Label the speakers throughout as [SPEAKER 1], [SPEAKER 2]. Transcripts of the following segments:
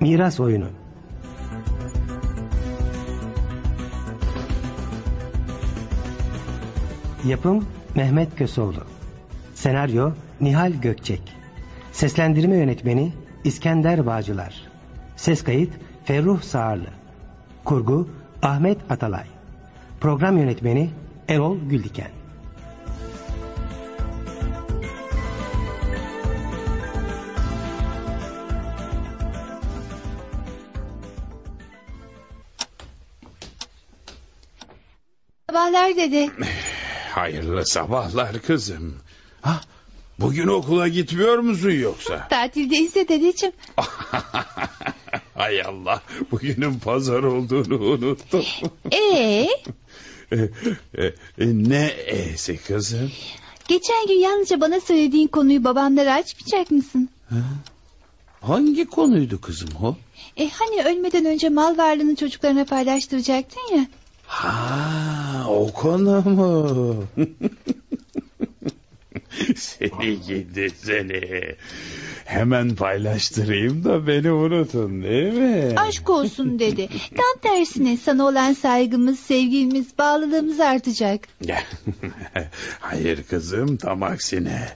[SPEAKER 1] Miras oyunu. Yapım Mehmet Kösoğlu. Senaryo Nihal Gökçek. Seslendirme yönetmeni İskender Bağcılar. Ses kayıt Ferruh Sağırlı. Kurgu Ahmet Atalay. Program yönetmeni Erol Güldiken.
[SPEAKER 2] Sabahlar dede.
[SPEAKER 3] Hayırlı sabahlar kızım. Ha, bugün okula gitmiyor musun yoksa?
[SPEAKER 2] Tatildeyiz de dedeciğim.
[SPEAKER 3] Hay Allah, bugünün pazar olduğunu unuttum.
[SPEAKER 2] Ee,
[SPEAKER 3] E, e, ne e'si kızım?
[SPEAKER 2] geçen gün yalnızca bana söylediğin konuyu babamlara açmayacak mısın?
[SPEAKER 3] Hangi konuydu kızım o?
[SPEAKER 2] E hani ölmeden önce mal varlığını çocuklarına paylaştıracaktın ya.
[SPEAKER 3] Ha, o konu mu? seni gidi seni. Hemen paylaştırayım da beni unutun değil mi?
[SPEAKER 2] Aşk olsun dedi. Tam tersine sana olan saygımız, sevgimiz, bağlılığımız artacak.
[SPEAKER 3] Hayır kızım tam aksine.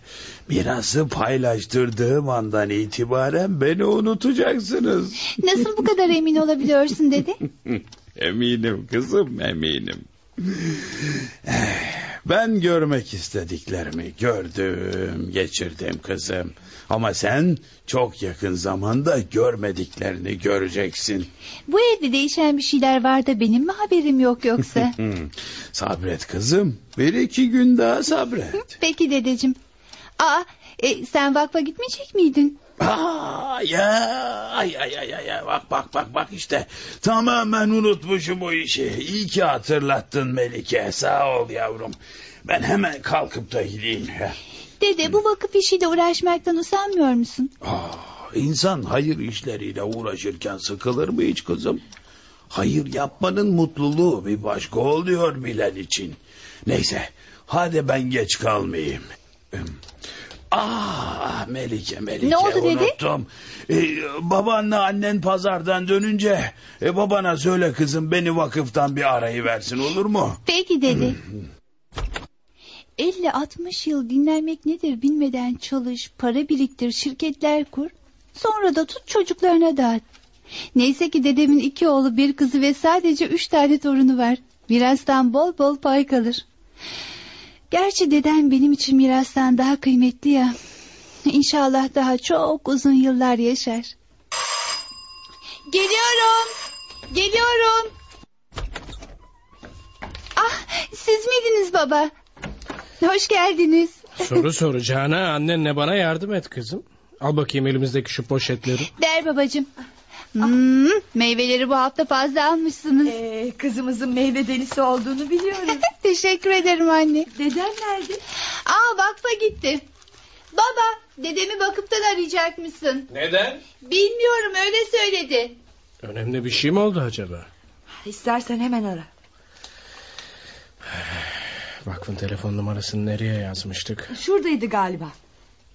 [SPEAKER 3] Mirası paylaştırdığım andan itibaren beni unutacaksınız.
[SPEAKER 2] Nasıl bu kadar emin olabiliyorsun dedi.
[SPEAKER 3] Eminim kızım eminim. Eh, Ben görmek istediklerimi gördüm, geçirdim kızım. Ama sen çok yakın zamanda görmediklerini göreceksin.
[SPEAKER 2] Bu evde değişen bir şeyler var da benim mi haberim yok yoksa?
[SPEAKER 3] Hı. Sabret kızım, bir iki gün daha sabret.
[SPEAKER 2] Peki dedeciğim. Aa, e, sen vakfa gitmeyecek miydin?
[SPEAKER 3] Aa, ya, ay, ay, ay, ay, ay, bak, bak, bak, bak işte. Tamamen unutmuşum o işi. İyi ki hatırlattın Melike, sağ ol yavrum. Ben hemen kalkıp da gideyim.
[SPEAKER 2] Dede bu vakıf işiyle uğraşmaktan usanmıyor musun?
[SPEAKER 3] Aa, Ah, insan hayır işleriyle uğraşırken sıkılır mı hiç kızım? Hayır yapmanın mutluluğu bir başka oluyor bilen için. Neyse hadi ben geç kalmayayım. Üm. Aa Melike Melike
[SPEAKER 2] Ne oldu dedi?
[SPEAKER 3] unuttum. Ee, babanla annen pazardan dönünce e, babana söyle kızım beni vakıftan bir arayı versin olur mu?
[SPEAKER 2] Peki dedi. 50-60 yıl dinlenmek nedir bilmeden çalış, para biriktir, şirketler kur. Sonra da tut çocuklarına dağıt. Neyse ki dedemin iki oğlu bir kızı ve sadece üç tane torunu var. Mirastan bol bol pay kalır. Gerçi dedem benim için mirastan daha kıymetli ya. İnşallah daha çok uzun yıllar yaşar. Geliyorum. Geliyorum. Ah siz miydiniz baba? Hoş geldiniz.
[SPEAKER 4] Soru soracağına annenle bana yardım et kızım. Al bakayım elimizdeki şu poşetleri.
[SPEAKER 2] Ver babacığım. Hmm, meyveleri bu hafta fazla almışsınız.
[SPEAKER 5] Ee, kızımızın meyve delisi olduğunu biliyoruz.
[SPEAKER 2] Teşekkür ederim anne.
[SPEAKER 5] Dedem nerede?
[SPEAKER 2] Aa vakfa gitti. Baba dedemi vakıftan arayacak mısın?
[SPEAKER 4] Neden?
[SPEAKER 2] Bilmiyorum öyle söyledi.
[SPEAKER 4] Önemli bir şey mi oldu acaba?
[SPEAKER 5] İstersen hemen ara.
[SPEAKER 4] Vakfın telefon numarasını nereye yazmıştık?
[SPEAKER 5] Şuradaydı galiba.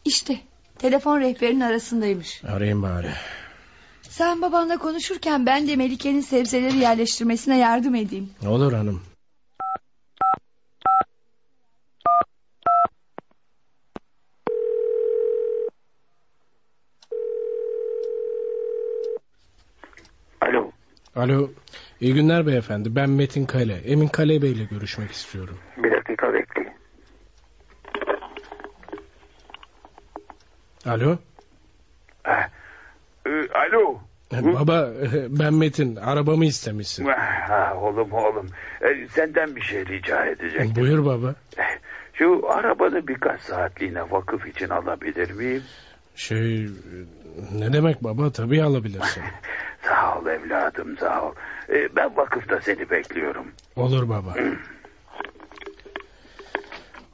[SPEAKER 5] İşte telefon rehberinin arasındaymış.
[SPEAKER 4] Arayayım bari.
[SPEAKER 5] Sen babanla konuşurken ben de Melike'nin sebzeleri yerleştirmesine yardım edeyim.
[SPEAKER 4] Olur hanım.
[SPEAKER 6] Alo.
[SPEAKER 4] Alo. İyi günler beyefendi. Ben Metin Kale. Emin Kale Bey ile görüşmek istiyorum.
[SPEAKER 6] Bir dakika bekleyin.
[SPEAKER 4] Alo.
[SPEAKER 6] Ee, alo.
[SPEAKER 4] E, Baba ben Metin. Arabamı istemişsin.
[SPEAKER 6] Ha, Ah, oğlum oğlum. Ee, senden bir şey rica edecektim.
[SPEAKER 4] Buyur baba.
[SPEAKER 6] Şu arabanı birkaç saatliğine vakıf için alabilir miyim?
[SPEAKER 4] Şey ne demek baba tabii alabilirsin.
[SPEAKER 6] Sağ ol evladım sağ ol. Ee, ben vakıfta seni bekliyorum.
[SPEAKER 4] Olur baba.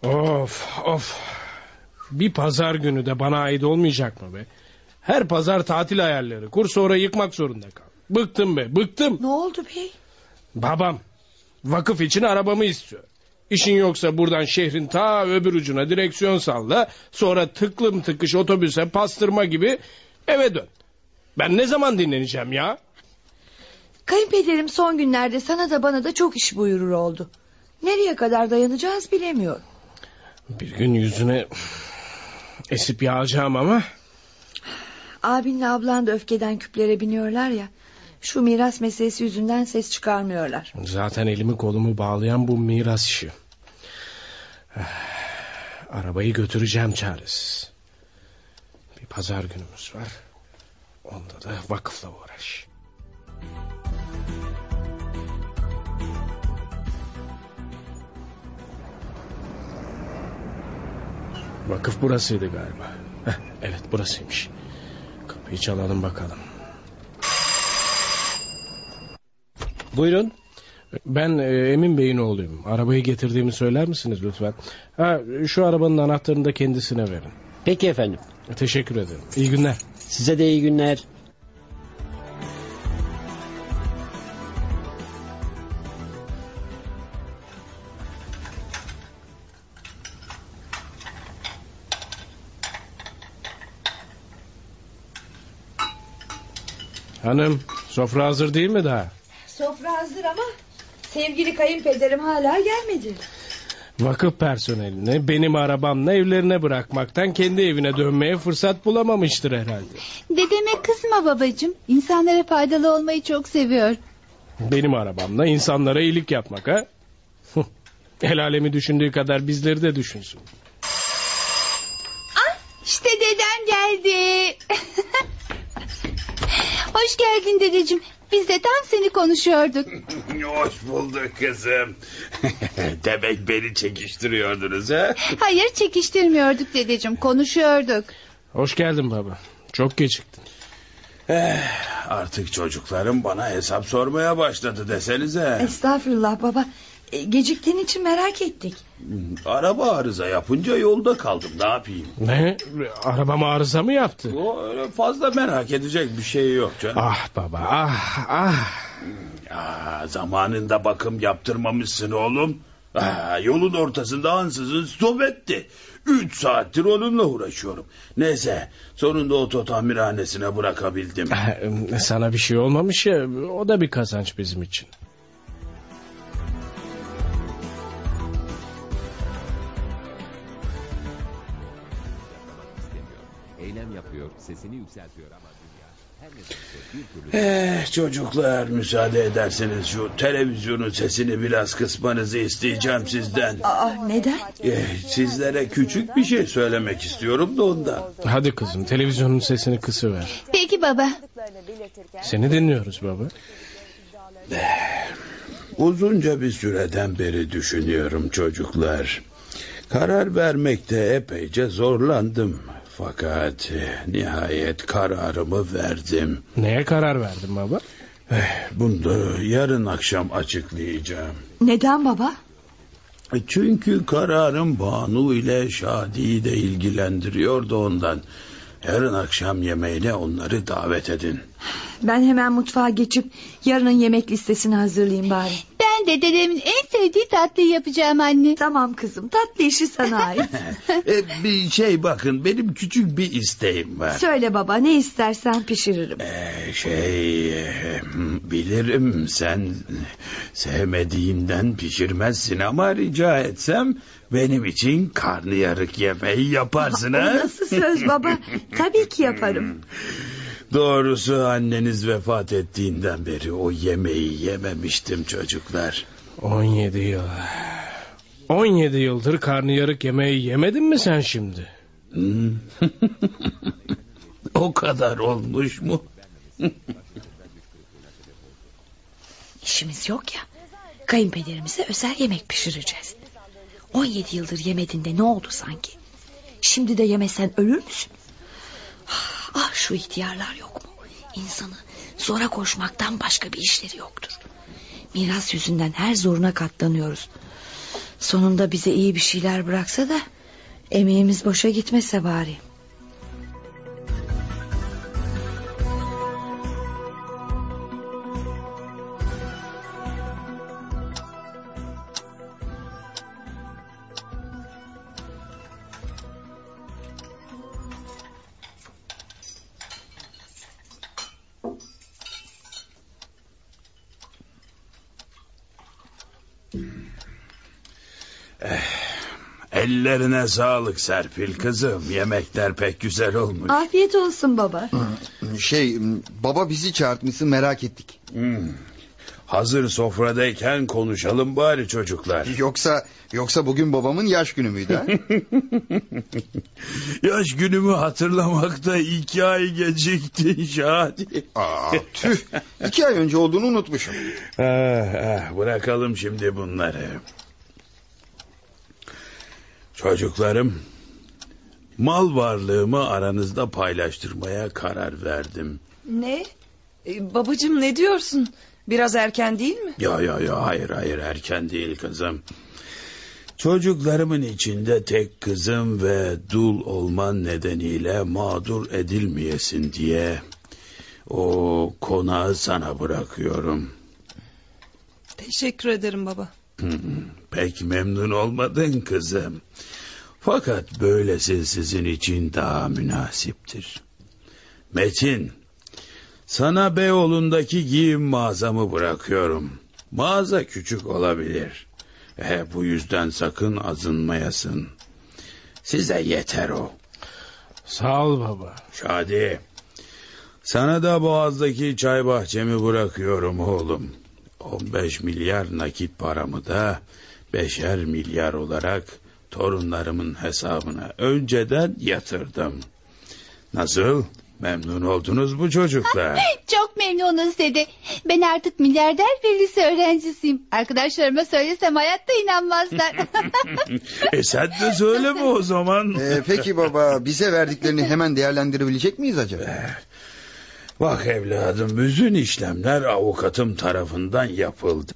[SPEAKER 4] of of. Bir pazar günü de bana ait olmayacak mı be? Her pazar tatil ayarları. Kur sonra yıkmak zorunda kal. Bıktım be bıktım.
[SPEAKER 5] Ne oldu bey?
[SPEAKER 4] Babam vakıf için arabamı istiyor. İşin yoksa buradan şehrin ta öbür ucuna direksiyon salla. Sonra tıklım tıkış otobüse pastırma gibi eve dön. Ben ne zaman dinleneceğim ya?
[SPEAKER 7] Kayınpederim son günlerde sana da bana da çok iş buyurur oldu. Nereye kadar dayanacağız bilemiyorum.
[SPEAKER 4] Bir gün yüzüne esip yağacağım ama
[SPEAKER 7] Abinle ablan da öfkeden küplere biniyorlar ya. Şu miras meselesi yüzünden ses çıkarmıyorlar.
[SPEAKER 4] zaten elimi kolumu bağlayan bu miras işi. Eh, Arabayı götüreceğim çaresiz. Bir pazar günümüz var. Onda da vakıfla uğraş. Vakıf burasıydı galiba. Heh, evet burasıymış. Kapıyı çalalım bakalım. Buyurun. Ben e, Emin Bey'in oğluyum. Arabayı getirdiğimi söyler misiniz lütfen? Ha, şu arabanın anahtarını da kendisine verin.
[SPEAKER 8] Peki efendim.
[SPEAKER 4] Teşekkür ederim. İyi günler.
[SPEAKER 8] Size de iyi günler.
[SPEAKER 4] Hanım, sofra hazır değil mi daha?
[SPEAKER 7] Sofra hazır ama sevgili kayınpederim hala gelmedi.
[SPEAKER 4] Vakıf personelini benim arabamla evlerine bırakmaktan kendi evine dönmeye fırsat bulamamıştır herhalde.
[SPEAKER 2] Dedeme kızma babacığım. İnsanlara faydalı olmayı çok seviyor.
[SPEAKER 4] Benim arabamla insanlara iyilik yapmak ha? El alemi düşündüğü kadar bizleri de düşünsün.
[SPEAKER 2] İşte dedem geldi. Hoş geldin dedeciğim. Biz de tam seni konuşuyorduk.
[SPEAKER 3] Hoş bulduk kızım. Demek beni çekiştiriyordunuz ha?
[SPEAKER 2] Hayır çekiştirmiyorduk dedeciğim konuşuyorduk.
[SPEAKER 4] Hoş geldin baba. Çok geciktin.
[SPEAKER 3] Artık çocuklarım bana hesap sormaya başladı desenize.
[SPEAKER 7] Estağfurullah baba. E, Geciktiğin için merak ettik.
[SPEAKER 3] Araba arıza yapınca yolda kaldım ne yapayım?
[SPEAKER 4] Ne? Arabam arıza mı yaptı?
[SPEAKER 3] O öyle fazla merak edecek bir şey yok canım.
[SPEAKER 4] Ah baba ah ah.
[SPEAKER 3] Aa, zamanında bakım yaptırmamışsın oğlum. Aa, yolun ortasında ansızın stop etti. Üç saattir onunla uğraşıyorum. Neyse sonunda oto tamirhanesine bırakabildim.
[SPEAKER 4] Sana bir şey olmamış ya o da bir kazanç bizim için.
[SPEAKER 9] eylem yapıyor, sesini yükseltiyor ama dünya her nedense bir türlü
[SPEAKER 3] Eh, çocuklar müsaade ederseniz şu televizyonun sesini biraz kısmanızı isteyeceğim sizden.
[SPEAKER 7] Aa neden?
[SPEAKER 3] Eh, sizlere küçük bir şey söylemek istiyorum da ondan.
[SPEAKER 4] Hadi kızım televizyonun sesini kısıver.
[SPEAKER 2] Peki baba.
[SPEAKER 4] Seni dinliyoruz baba.
[SPEAKER 3] Uzunca bir süreden beri düşünüyorum çocuklar. Karar vermekte epeyce zorlandım. Fakat eh, nihayet kararımı verdim.
[SPEAKER 4] Neye karar verdin baba?
[SPEAKER 3] Bunu da yarın akşam açıklayacağım.
[SPEAKER 7] Neden baba?
[SPEAKER 3] Çünkü kararım Banu ile Şadi'yi de ilgilendiriyor da ondan. Yarın akşam yemeğine onları davet edin.
[SPEAKER 7] Ben hemen mutfağa geçip yarının yemek listesini hazırlayayım bari.
[SPEAKER 2] Ben de dedemin en sevdiği tatlıyı yapacağım anne.
[SPEAKER 7] Tamam kızım tatlı işi sana ait.
[SPEAKER 3] E, bir şey bakın benim küçük bir isteğim var.
[SPEAKER 7] Söyle baba ne istersen pişiririm.
[SPEAKER 3] E, şey e, bilirim sen sevmediğinden pişirmezsin ama rica etsem benim için karnıyarık yemeği yaparsın
[SPEAKER 7] O
[SPEAKER 3] ha.
[SPEAKER 7] nasıl söz baba? Tabii ki yaparım.
[SPEAKER 3] Doğrusu anneniz vefat ettiğinden beri o yemeği yememiştim çocuklar.
[SPEAKER 4] 17 yıl. 17 yıldır karnıyarık yemeği yemedin mi sen şimdi?
[SPEAKER 3] Hmm. o kadar olmuş mu?
[SPEAKER 7] İşimiz yok ya. Kayınpederimize özel yemek pişireceğiz. 17 yıldır yemediğinde ne oldu sanki? Şimdi de yemesen ölür müsün? Ah şu ihtiyarlar yok mu? İnsanı zora koşmaktan başka bir işleri yoktur. Miras yüzünden her zoruna katlanıyoruz. Sonunda bize iyi bir şeyler bıraksa da emeğimiz boşa gitmese bari.
[SPEAKER 3] Ellerine sağlık Serpil kızım. Yemekler pek güzel olmuş.
[SPEAKER 5] Afiyet olsun baba.
[SPEAKER 10] Şey baba bizi çağırtmışsın merak ettik.
[SPEAKER 3] Hmm. Hazır sofradayken konuşalım bari çocuklar.
[SPEAKER 10] Yoksa yoksa bugün babamın yaş günü müydü? ha?
[SPEAKER 3] Yaş günümü hatırlamakta iki ay geciktin Şadi.
[SPEAKER 10] Aa, tüh iki ay önce olduğunu unutmuşum.
[SPEAKER 3] Ah, ah, bırakalım şimdi bunları. Çocuklarım, mal varlığımı aranızda paylaştırmaya karar verdim.
[SPEAKER 11] Ne? E, babacığım ne diyorsun? Biraz erken değil mi?
[SPEAKER 3] Ya ya ya hayır hayır erken değil kızım. Çocuklarımın içinde tek kızım ve dul olman nedeniyle mağdur edilmeyesin diye o konağı sana bırakıyorum.
[SPEAKER 11] Teşekkür ederim baba.
[SPEAKER 3] Pek memnun olmadın kızım. Fakat böylesi sizin için daha münasiptir. Metin, sana Beyoğlu'ndaki giyim mağazamı bırakıyorum. Mağaza küçük olabilir. E, bu yüzden sakın azınmayasın. Size yeter o.
[SPEAKER 4] Sağ ol baba.
[SPEAKER 3] Şadi, sana da Boğaz'daki çay bahçemi bırakıyorum oğlum. 15 milyar nakit paramı da beşer milyar olarak torunlarımın hesabına önceden yatırdım. Nasıl? Memnun oldunuz mu çocuklar?
[SPEAKER 2] Çok memnunuz dede. Ben artık milyarder ve lise öğrencisiyim. Arkadaşlarıma söylesem hayatta inanmazlar.
[SPEAKER 3] e sen de söyleme o zaman.
[SPEAKER 10] Ee, peki baba bize verdiklerini hemen değerlendirebilecek miyiz acaba?
[SPEAKER 3] Bak evladım bütün işlemler avukatım tarafından yapıldı.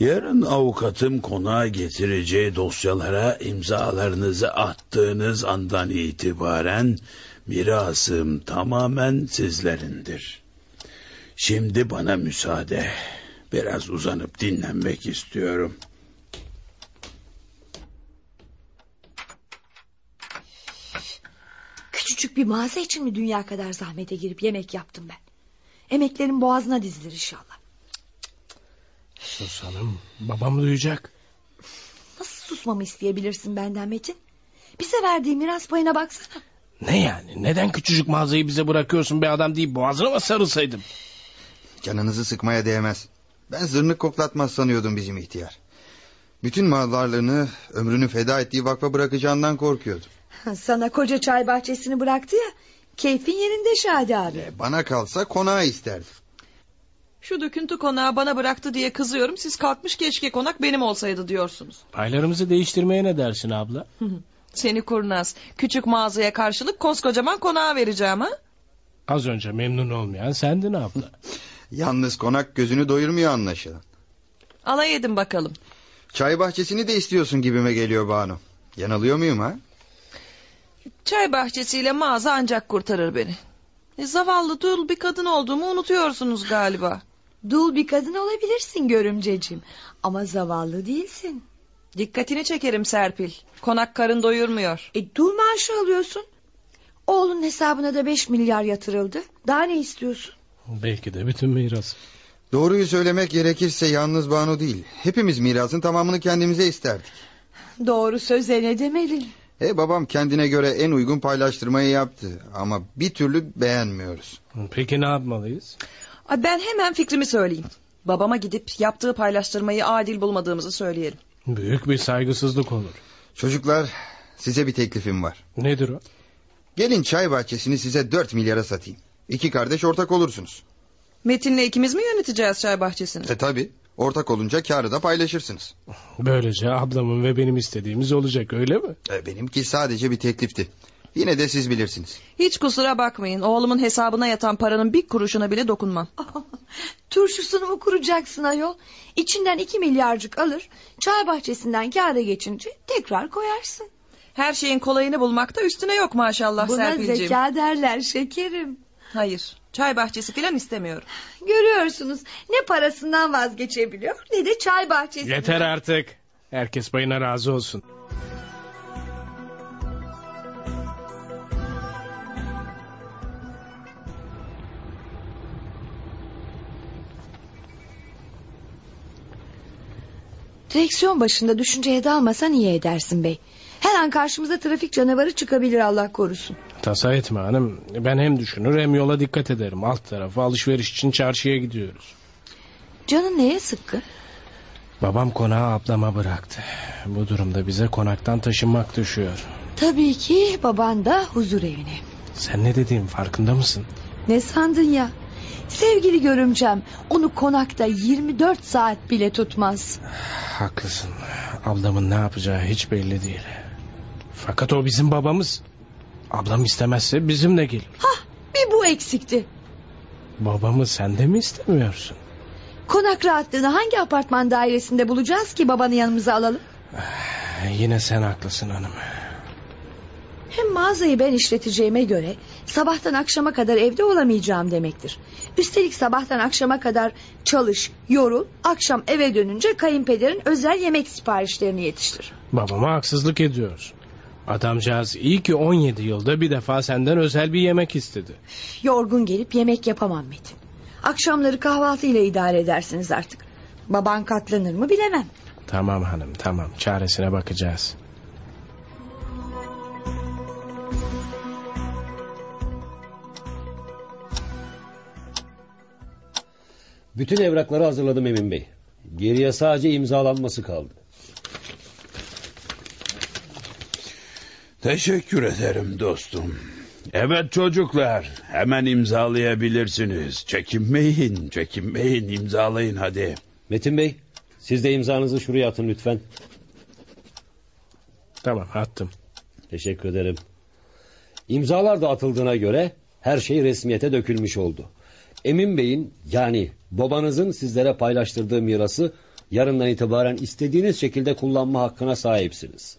[SPEAKER 3] Yarın avukatım konağa getireceği dosyalara imzalarınızı attığınız andan itibaren mirasım tamamen sizlerindir. Şimdi bana müsaade. Biraz uzanıp dinlenmek istiyorum.
[SPEAKER 5] Küçücük bir mağaza için mi dünya kadar zahmete girip yemek yaptım ben? Emeklerim boğazına dizilir inşallah.
[SPEAKER 4] Sus hanım. Babam duyacak.
[SPEAKER 5] Nasıl susmamı isteyebilirsin benden Metin? Bize verdiği miras payına baksana.
[SPEAKER 4] Ne yani? Neden küçücük mağazayı bize bırakıyorsun be adam deyip boğazına mı sarılsaydım?
[SPEAKER 10] Canınızı sıkmaya değmez. Ben zırnık koklatmaz sanıyordum bizim ihtiyar. Bütün mallarını ömrünü feda ettiği vakfa bırakacağından korkuyordum.
[SPEAKER 5] Sana koca çay bahçesini bıraktı ya. Keyfin yerinde Şadi abi.
[SPEAKER 10] Ee, bana kalsa konağı isterdim.
[SPEAKER 11] Şu döküntü konağı bana bıraktı diye kızıyorum. Siz kalkmış keşke konak benim olsaydı diyorsunuz.
[SPEAKER 4] Paylarımızı değiştirmeye ne dersin abla?
[SPEAKER 11] Seni kurnaz. Küçük mağazaya karşılık koskocaman konağa vereceğim ha?
[SPEAKER 4] Az önce memnun olmayan sendin abla.
[SPEAKER 10] Yalnız konak gözünü doyurmuyor anlaşılan.
[SPEAKER 11] Alay edin bakalım.
[SPEAKER 10] Çay bahçesini de istiyorsun gibime geliyor Banu. Yanılıyor muyum ha?
[SPEAKER 11] Çay bahçesiyle mağaza ancak kurtarır beni. E, zavallı dul bir kadın olduğumu unutuyorsunuz galiba.
[SPEAKER 5] Dul bir kadın olabilirsin görümceciğim. Ama zavallı değilsin.
[SPEAKER 11] Dikkatini çekerim Serpil. Konak karın doyurmuyor.
[SPEAKER 5] E dul maaşı alıyorsun. Oğlun hesabına da beş milyar yatırıldı. Daha ne istiyorsun?
[SPEAKER 4] Belki de bütün miras.
[SPEAKER 10] Doğruyu söylemek gerekirse yalnız Banu değil. Hepimiz mirasın tamamını kendimize isterdik.
[SPEAKER 5] Doğru söze ne demeli?
[SPEAKER 10] E babam kendine göre en uygun paylaştırmayı yaptı. Ama bir türlü beğenmiyoruz.
[SPEAKER 4] Peki ne yapmalıyız?
[SPEAKER 11] Ay, ben hemen fikrimi söyleyeyim. Babama gidip yaptığı paylaştırmayı adil bulmadığımızı söyleyelim.
[SPEAKER 4] Büyük bir saygısızlık olur.
[SPEAKER 10] Çocuklar size bir teklifim var.
[SPEAKER 4] Nedir o?
[SPEAKER 10] Gelin çay bahçesini size 4 milyara satayım. İki kardeş ortak olursunuz.
[SPEAKER 11] Metin'le ikimiz mi yöneteceğiz çay bahçesini?
[SPEAKER 10] E tabi ortak olunca karı da paylaşırsınız.
[SPEAKER 4] Böylece ablamın ve benim istediğimiz olacak öyle mi?
[SPEAKER 10] E, benimki sadece bir teklifti. Yine de siz bilirsiniz.
[SPEAKER 11] Hiç kusura bakmayın. Oğlumun hesabına yatan paranın bir kuruşuna bile dokunmam.
[SPEAKER 5] Turşusunu mu kuracaksın ayol? İçinden iki milyarcık alır. Çay bahçesinden kâda geçince tekrar koyarsın.
[SPEAKER 11] Her şeyin kolayını bulmakta üstüne yok maşallah
[SPEAKER 5] Buna
[SPEAKER 11] Serpil'ciğim.
[SPEAKER 5] zeka derler şekerim.
[SPEAKER 11] Hayır. Çay bahçesi falan istemiyorum.
[SPEAKER 5] Görüyorsunuz ne parasından vazgeçebiliyor ne de çay bahçesi.
[SPEAKER 4] Yeter artık. Herkes payına razı olsun.
[SPEAKER 5] Direksiyon başında düşünceye dalmasan iyi edersin bey.
[SPEAKER 7] Her an karşımıza trafik canavarı çıkabilir Allah korusun.
[SPEAKER 4] Tasa etme hanım. Ben hem düşünür hem yola dikkat ederim. Alt tarafı alışveriş için çarşıya gidiyoruz.
[SPEAKER 5] Canın neye sıkkın?
[SPEAKER 4] Babam konağı ablama bıraktı. Bu durumda bize konaktan taşınmak düşüyor.
[SPEAKER 7] Tabii ki baban da huzur evine.
[SPEAKER 4] Sen ne dediğin farkında mısın?
[SPEAKER 7] Ne sandın ya? Sevgili görümcem onu konakta 24 saat bile tutmaz.
[SPEAKER 4] Haklısın. Ablamın ne yapacağı hiç belli değil. Fakat o bizim babamız. Ablam istemezse bizimle gelir.
[SPEAKER 7] Hah bir bu eksikti.
[SPEAKER 4] Babamı sen de mi istemiyorsun?
[SPEAKER 7] Konak rahatlığını hangi apartman dairesinde bulacağız ki babanı yanımıza alalım?
[SPEAKER 4] E, Yine sen haklısın hanım.
[SPEAKER 7] Hem mağazayı ben işleteceğime göre sabahtan akşama kadar evde olamayacağım demektir. Üstelik sabahtan akşama kadar çalış, yorul, akşam eve dönünce kayınpederin özel yemek siparişlerini yetiştir.
[SPEAKER 4] Babama haksızlık ediyoruz. Adamcağız iyi ki 17 yılda bir defa senden özel bir yemek istedi.
[SPEAKER 7] Yorgun gelip yemek yapamam Metin. Akşamları kahvaltıyla idare edersiniz artık. Baban katlanır mı bilemem.
[SPEAKER 4] Tamam hanım tamam çaresine bakacağız.
[SPEAKER 8] Bütün evrakları hazırladım Emin Bey. Geriye sadece imzalanması kaldı.
[SPEAKER 3] Teşekkür ederim dostum. Evet çocuklar hemen imzalayabilirsiniz. Çekinmeyin çekinmeyin imzalayın hadi.
[SPEAKER 8] Metin Bey siz de imzanızı şuraya atın lütfen.
[SPEAKER 4] Tamam attım.
[SPEAKER 8] Teşekkür ederim. İmzalar da atıldığına göre her şey resmiyete dökülmüş oldu. Emin Bey'in yani babanızın sizlere paylaştırdığı mirası yarından itibaren istediğiniz şekilde kullanma hakkına sahipsiniz.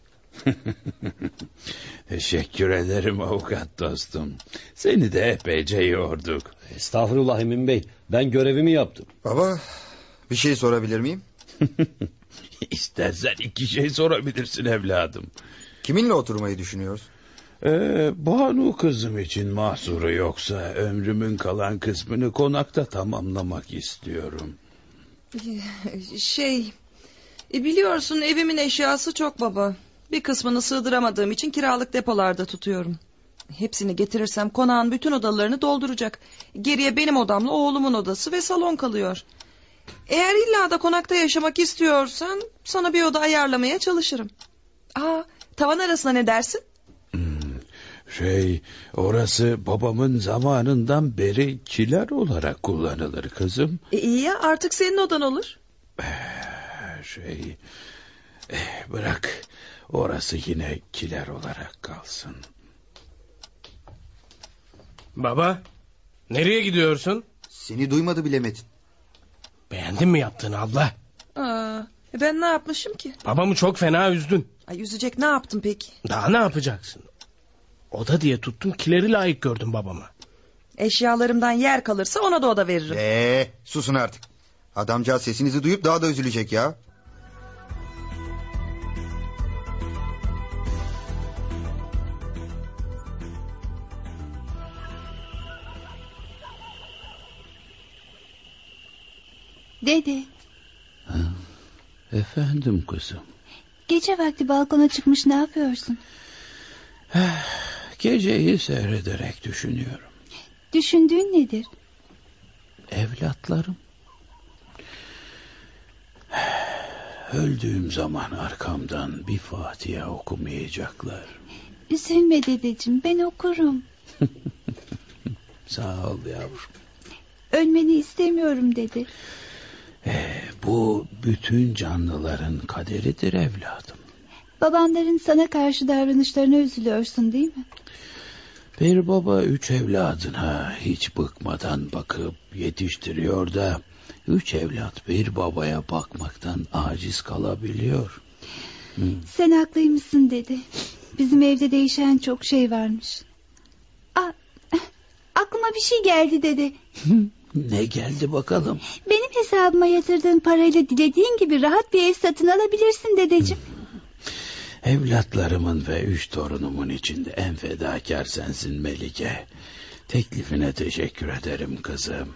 [SPEAKER 3] Teşekkür ederim avukat dostum. Seni de epeyce yorduk.
[SPEAKER 8] Estağfurullah Emin Bey. Ben görevimi yaptım.
[SPEAKER 10] Baba bir şey sorabilir miyim?
[SPEAKER 3] İstersen iki şey sorabilirsin evladım.
[SPEAKER 10] Kiminle oturmayı düşünüyoruz?
[SPEAKER 3] Ee, Banu kızım için mahsuru yoksa ömrümün kalan kısmını konakta tamamlamak istiyorum.
[SPEAKER 11] Şey e, biliyorsun evimin eşyası çok baba. Bir kısmını sığdıramadığım için kiralık depolarda tutuyorum. Hepsini getirirsem konağın bütün odalarını dolduracak. Geriye benim odamla oğlumun odası ve salon kalıyor. Eğer illa da konakta yaşamak istiyorsan sana bir oda ayarlamaya çalışırım. Aa, tavan arasına ne dersin?
[SPEAKER 3] Hmm, Şey, orası babamın zamanından beri kiler olarak kullanılır kızım.
[SPEAKER 11] E, iyi ya artık senin odan olur.
[SPEAKER 3] Şey, eh, bırak orası yine kiler olarak kalsın.
[SPEAKER 4] Baba nereye gidiyorsun?
[SPEAKER 10] Seni duymadı bile Metin.
[SPEAKER 4] Beğendin mi yaptığını abla?
[SPEAKER 11] Aa, e, ben ne yapmışım ki?
[SPEAKER 4] Babamı çok fena üzdün.
[SPEAKER 11] Ay, yüzecek ne yaptın peki?
[SPEAKER 4] Daha ne yapacaksın? Oda diye tuttum kileri layık gördüm babama.
[SPEAKER 11] Eşyalarımdan yer kalırsa ona da oda veririm.
[SPEAKER 10] Eee Ee, susun artık. Adamcağız sesinizi duyup daha da üzülecek ya.
[SPEAKER 2] Dede
[SPEAKER 3] Efendim kızım.
[SPEAKER 2] gece vakti balkona çıkmış ne yapıyorsun?
[SPEAKER 3] Geceyi seyrederek düşünüyorum.
[SPEAKER 2] Düşündüğün nedir?
[SPEAKER 3] Evlatlarım. Öldüğüm zaman arkamdan bir Fatiha okumayacaklar.
[SPEAKER 2] Üzülme dedeciğim ben okurum.
[SPEAKER 3] Sağ ol yavrum.
[SPEAKER 2] Ölmeni istemiyorum dedi.
[SPEAKER 3] Bu bütün canlıların kaderidir evladım.
[SPEAKER 2] Babanların sana karşı davranışlarına üzülüyorsun değil mi?
[SPEAKER 3] Bir baba üç evladına hiç bıkmadan bakıp yetiştiriyor da... ...üç evlat bir babaya bakmaktan aciz kalabiliyor.
[SPEAKER 2] Sen haklıymışsın dedi. Bizim evde değişen çok şey varmış. Aa, aklıma bir şey geldi dedi.
[SPEAKER 3] Ne geldi bakalım?
[SPEAKER 2] Benim hesabıma yatırdığın parayla dilediğin gibi rahat bir ev satın alabilirsin dedeciğim.
[SPEAKER 3] Evlatlarımın ve üç torunumun içinde en fedakar sensin Melike. Teklifine teşekkür ederim kızım.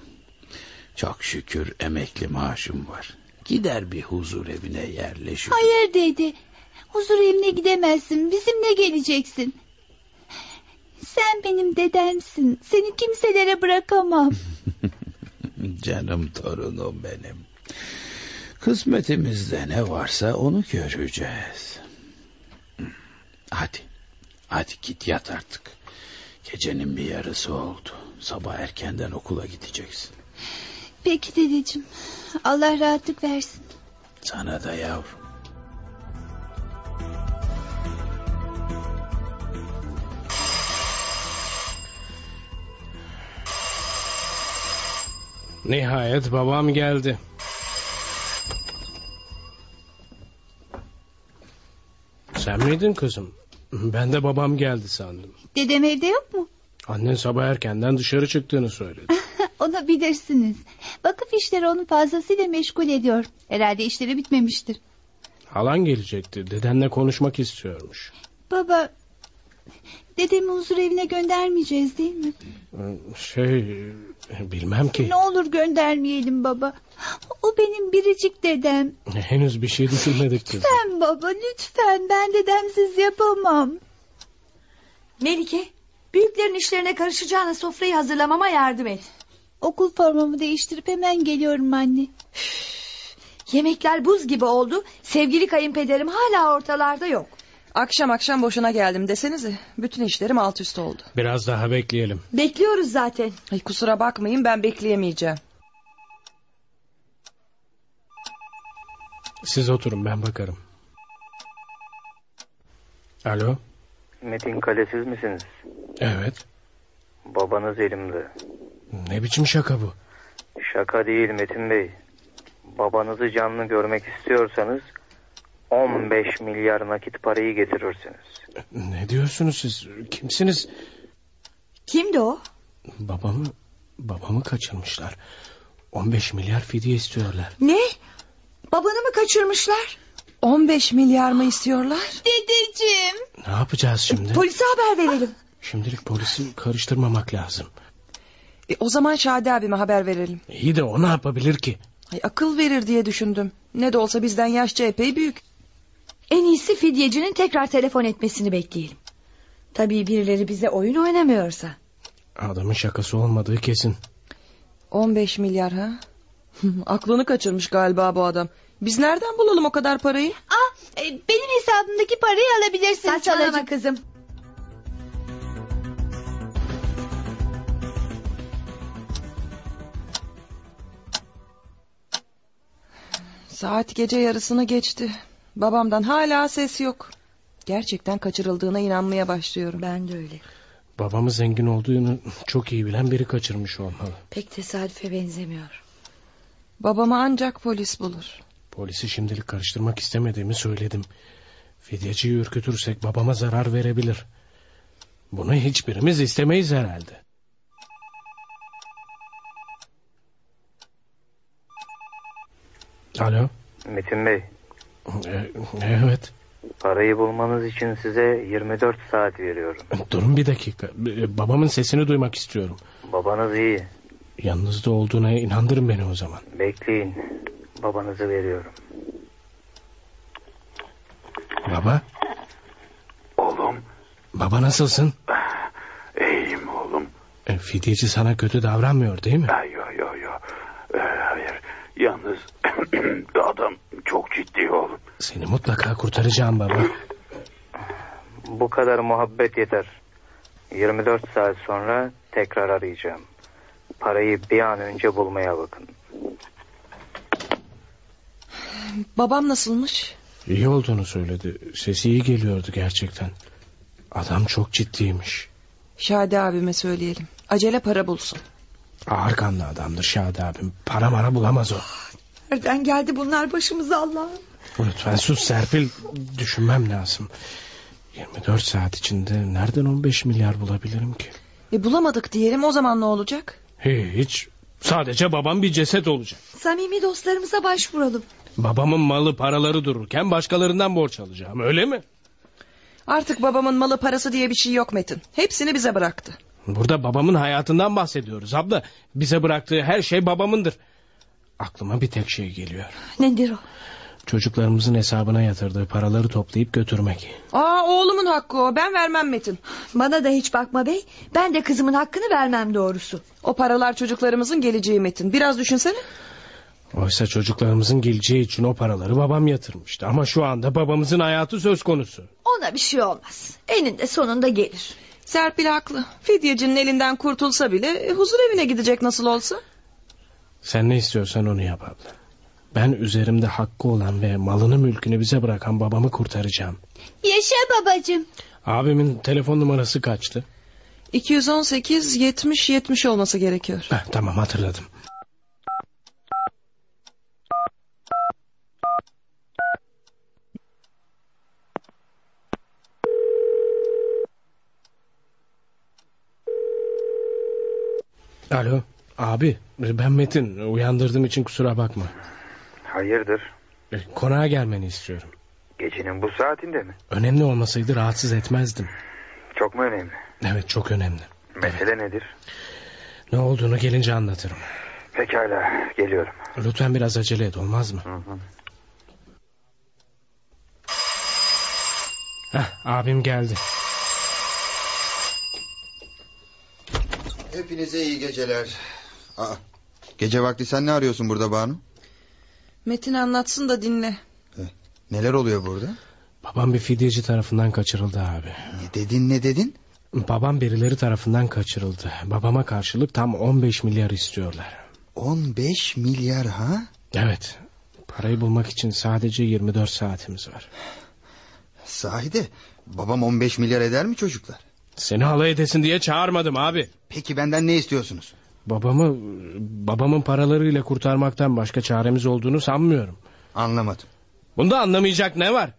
[SPEAKER 3] Çok şükür emekli maaşım var. Gider bir huzur evine yerleşir.
[SPEAKER 2] Hayır dedi. Huzur evine gidemezsin. Bizimle geleceksin. Sen benim dedemsin. Seni kimselere bırakamam.
[SPEAKER 3] Canım torunum benim. Kısmetimizde ne varsa onu göreceğiz. Hadi. Hadi git yat artık. Gecenin bir yarısı oldu. Sabah erkenden okula gideceksin.
[SPEAKER 2] Peki dedeciğim. Allah rahatlık versin.
[SPEAKER 3] Sana da yavrum.
[SPEAKER 4] Nihayet babam geldi. Sen miydin kızım? Ben de babam geldi sandım.
[SPEAKER 2] Dedem evde yok mu?
[SPEAKER 4] Annen sabah erkenden dışarı çıktığını söyledi.
[SPEAKER 2] Onu bilirsiniz. Vakıf işleri onu fazlasıyla meşgul ediyor. Herhalde işleri bitmemiştir.
[SPEAKER 4] Halan gelecekti. Dedenle konuşmak istiyormuş.
[SPEAKER 2] Baba, dedemi huzur evine göndermeyeceğiz değil mi?
[SPEAKER 4] Şey, bilmem ki.
[SPEAKER 2] Ne olur göndermeyelim baba. O benim biricik dedem.
[SPEAKER 4] Henüz bir şey düşünmedik kızım.
[SPEAKER 2] Sen baba lütfen ben dedemsiz yapamam.
[SPEAKER 7] Melike, büyüklerin işlerine karışacağına sofrayı hazırlamama yardım et.
[SPEAKER 2] Okul formamı değiştirip hemen geliyorum anne.
[SPEAKER 7] Yemekler buz gibi oldu. Sevgili kayınpederim hala ortalarda yok.
[SPEAKER 11] Akşam akşam boşuna geldim desenize. Bütün işlerim alt üst oldu.
[SPEAKER 4] Biraz daha bekleyelim.
[SPEAKER 7] Bekliyoruz zaten.
[SPEAKER 11] Ay kusura bakmayın ben bekleyemeyeceğim.
[SPEAKER 4] Siz oturun ben bakarım. Alo.
[SPEAKER 12] Metin Kale siz misiniz?
[SPEAKER 4] Evet.
[SPEAKER 12] Babanız elimde.
[SPEAKER 4] Ne biçim şaka bu?
[SPEAKER 12] Şaka değil Metin Bey. Babanızı canlı görmek istiyorsanız 15 milyar nakit parayı getirirsiniz.
[SPEAKER 4] Ne diyorsunuz siz? Kimsiniz?
[SPEAKER 7] Kimdi o?
[SPEAKER 4] Babamı babamı kaçırmışlar. 15 milyar fidye istiyorlar.
[SPEAKER 7] Ne? Babanı mı kaçırmışlar?
[SPEAKER 11] 15 milyar mı istiyorlar?
[SPEAKER 2] Dedeciğim.
[SPEAKER 4] Ne yapacağız şimdi?
[SPEAKER 7] Polise haber verelim.
[SPEAKER 4] Şimdilik polisi karıştırmamak lazım.
[SPEAKER 11] E, o zaman Şadi abime haber verelim.
[SPEAKER 4] İyi de o ne yapabilir ki?
[SPEAKER 11] Ay, akıl verir diye düşündüm. Ne de olsa bizden yaşça epey büyük.
[SPEAKER 7] En iyisi fidyecinin tekrar telefon etmesini bekleyelim. Tabii birileri bize oyun oynamıyorsa.
[SPEAKER 4] Adamın şakası olmadığı kesin.
[SPEAKER 11] 15 milyar ha? Aklını kaçırmış galiba bu adam. Biz nereden bulalım o kadar parayı?
[SPEAKER 2] Ah, e, benim hesabımdaki parayı alabilirsin
[SPEAKER 7] Saçmalama
[SPEAKER 2] Salacığım.
[SPEAKER 7] kızım.
[SPEAKER 11] Saat gece yarısını geçti. Babamdan hala ses yok. Gerçekten kaçırıldığına inanmaya başlıyorum.
[SPEAKER 7] Ben de öyle.
[SPEAKER 4] Babamı zengin olduğunu çok iyi bilen biri kaçırmış olmalı.
[SPEAKER 7] Pek tesadüfe benzemiyor.
[SPEAKER 11] Babamı ancak polis bulur.
[SPEAKER 4] Polisi şimdilik karıştırmak istemediğimi söyledim. Fidyeciyi ürkütürsek babama zarar verebilir. Bunu hiçbirimiz istemeyiz herhalde. Alo.
[SPEAKER 12] Metin Bey
[SPEAKER 4] E, evet.
[SPEAKER 12] parayı bulmanız için size 24 saat veriyorum.
[SPEAKER 4] Durun bir dakika. E, Babamın sesini duymak istiyorum.
[SPEAKER 12] Babanız iyi.
[SPEAKER 4] Yanınızda olduğuna inandırın beni o zaman.
[SPEAKER 12] Bekleyin. Babanızı veriyorum.
[SPEAKER 4] Baba.
[SPEAKER 6] Oğlum
[SPEAKER 4] Baba nasılsın?
[SPEAKER 6] iyiyim oğlum.
[SPEAKER 4] E, Fidyeci sana kötü davranmıyor değil mi?
[SPEAKER 6] Yo yo yo. Ee, hayır. Yalnız adam çok ciddi oğlum.
[SPEAKER 4] Seni mutlaka kurtaracağım baba.
[SPEAKER 12] Bu kadar muhabbet yeter. 24 saat sonra tekrar arayacağım. Parayı bir an önce bulmaya bakın.
[SPEAKER 11] Babam nasılmış?
[SPEAKER 4] İyi olduğunu söyledi. Sesi iyi geliyordu gerçekten. Adam çok ciddiymiş.
[SPEAKER 11] Şadi abime söyleyelim. Acele para bulsun.
[SPEAKER 4] Ağır kanlı adamdır Şadi abim. Para mara bulamaz o.
[SPEAKER 7] Nereden geldi bunlar başımıza Allah'ım?
[SPEAKER 4] Lütfen sus Serpil. Düşünmem lazım. 24 saat içinde nereden 15 milyar bulabilirim ki?
[SPEAKER 11] E bulamadık diyelim o zaman ne olacak?
[SPEAKER 4] Hiç. Sadece babam bir ceset olacak.
[SPEAKER 7] Samimi dostlarımıza başvuralım.
[SPEAKER 4] Babamın malı paraları dururken başkalarından borç alacağım öyle mi?
[SPEAKER 11] Artık babamın malı parası diye bir şey yok Metin. Hepsini bize bıraktı.
[SPEAKER 4] Burada babamın hayatından bahsediyoruz abla. Bize bıraktığı her şey babamındır. Aklıma bir tek şey geliyor.
[SPEAKER 7] Nedir o?
[SPEAKER 4] Çocuklarımızın hesabına yatırdığı paraları toplayıp götürmek.
[SPEAKER 11] Aa oğlumun hakkı o. Ben vermem Metin.
[SPEAKER 7] Bana da hiç bakma bey. Ben de kızımın hakkını vermem doğrusu.
[SPEAKER 11] O paralar çocuklarımızın geleceği Metin. Biraz düşünsene.
[SPEAKER 4] Oysa çocuklarımızın geleceği için o paraları babam yatırmıştı. Ama şu anda babamızın hayatı söz konusu.
[SPEAKER 7] Ona bir şey olmaz. Eninde sonunda gelir.
[SPEAKER 11] Serpil haklı. Fidyecinin elinden kurtulsa bile e, huzur evine gidecek nasıl olsa.
[SPEAKER 4] Sen ne istiyorsan onu yap abla. Ben üzerimde hakkı olan ve malını mülkünü bize bırakan babamı kurtaracağım.
[SPEAKER 2] Yaşa babacığım.
[SPEAKER 4] Abimin telefon numarası kaçtı?
[SPEAKER 11] 218 70 70 olması gerekiyor.
[SPEAKER 4] Heh, tamam hatırladım. Alo abi ben Metin uyandırdığım için kusura bakma.
[SPEAKER 12] Hayırdır?
[SPEAKER 4] E, Konağa gelmeni istiyorum.
[SPEAKER 12] Gecenin bu saatinde mi?
[SPEAKER 4] Önemli olmasaydı rahatsız etmezdim.
[SPEAKER 12] Çok mu önemli?
[SPEAKER 4] Evet çok önemli.
[SPEAKER 12] Mesele nedir?
[SPEAKER 4] Ne olduğunu gelince anlatırım.
[SPEAKER 12] Pekala geliyorum.
[SPEAKER 4] Lütfen biraz acele et olmaz mı? Heh, abim geldi.
[SPEAKER 10] Hepinize iyi geceler. Aa, gece vakti sen ne arıyorsun burada Banu?
[SPEAKER 11] Metin anlatsın da dinle.
[SPEAKER 10] Neler oluyor burada?
[SPEAKER 4] Babam bir fidyeci tarafından kaçırıldı abi. Ne
[SPEAKER 10] dedin ne dedin?
[SPEAKER 4] Babam birileri tarafından kaçırıldı. Babama karşılık tam 15 milyar istiyorlar.
[SPEAKER 10] 15 milyar ha?
[SPEAKER 4] Evet. Parayı bulmak için sadece 24 saatimiz var.
[SPEAKER 10] Sahide babam 15 milyar eder mi çocuklar?
[SPEAKER 4] Seni halay edesin diye çağırmadım abi.
[SPEAKER 10] Peki benden ne istiyorsunuz?
[SPEAKER 4] Babamı babamın paralarıyla kurtarmaktan başka çaremiz olduğunu sanmıyorum.
[SPEAKER 10] Anlamadım.
[SPEAKER 4] Bunda anlamayacak ne var?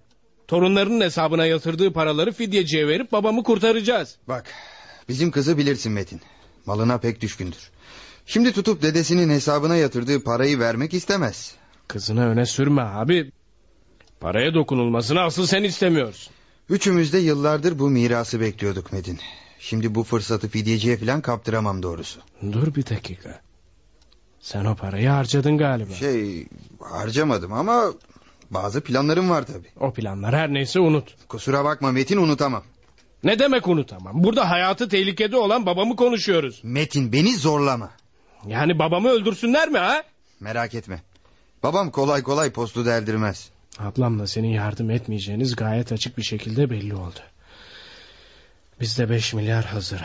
[SPEAKER 4] Torunlarının hesabına yatırdığı paraları fidyeciye verip babamı kurtaracağız.
[SPEAKER 10] Bak bizim kızı bilirsin Metin. Malına pek düşkündür. Şimdi tutup dedesinin hesabına yatırdığı parayı vermek istemez.
[SPEAKER 4] Kızını öne sürme abi. Paraya dokunulmasını asıl sen istemiyorsun.
[SPEAKER 10] Üçümüz de yıllardır bu mirası bekliyorduk Metin. Şimdi bu fırsatı fidyeciye falan kaptıramam doğrusu.
[SPEAKER 4] Dur bir dakika. Sen o parayı harcadın galiba.
[SPEAKER 10] Şey harcamadım ama bazı planlarım var tabii.
[SPEAKER 4] O planlar her neyse unut.
[SPEAKER 10] Kusura bakma Metin unutamam.
[SPEAKER 4] Ne demek unutamam? Burada hayatı tehlikede olan babamı konuşuyoruz.
[SPEAKER 10] Metin beni zorlama.
[SPEAKER 4] Yani babamı öldürsünler mi ha?
[SPEAKER 10] Merak etme. Babam kolay kolay postu deldirmez.
[SPEAKER 4] Ablamla senin yardım etmeyeceğiniz gayet açık bir şekilde belli oldu. Bizde 5 milyar hazır.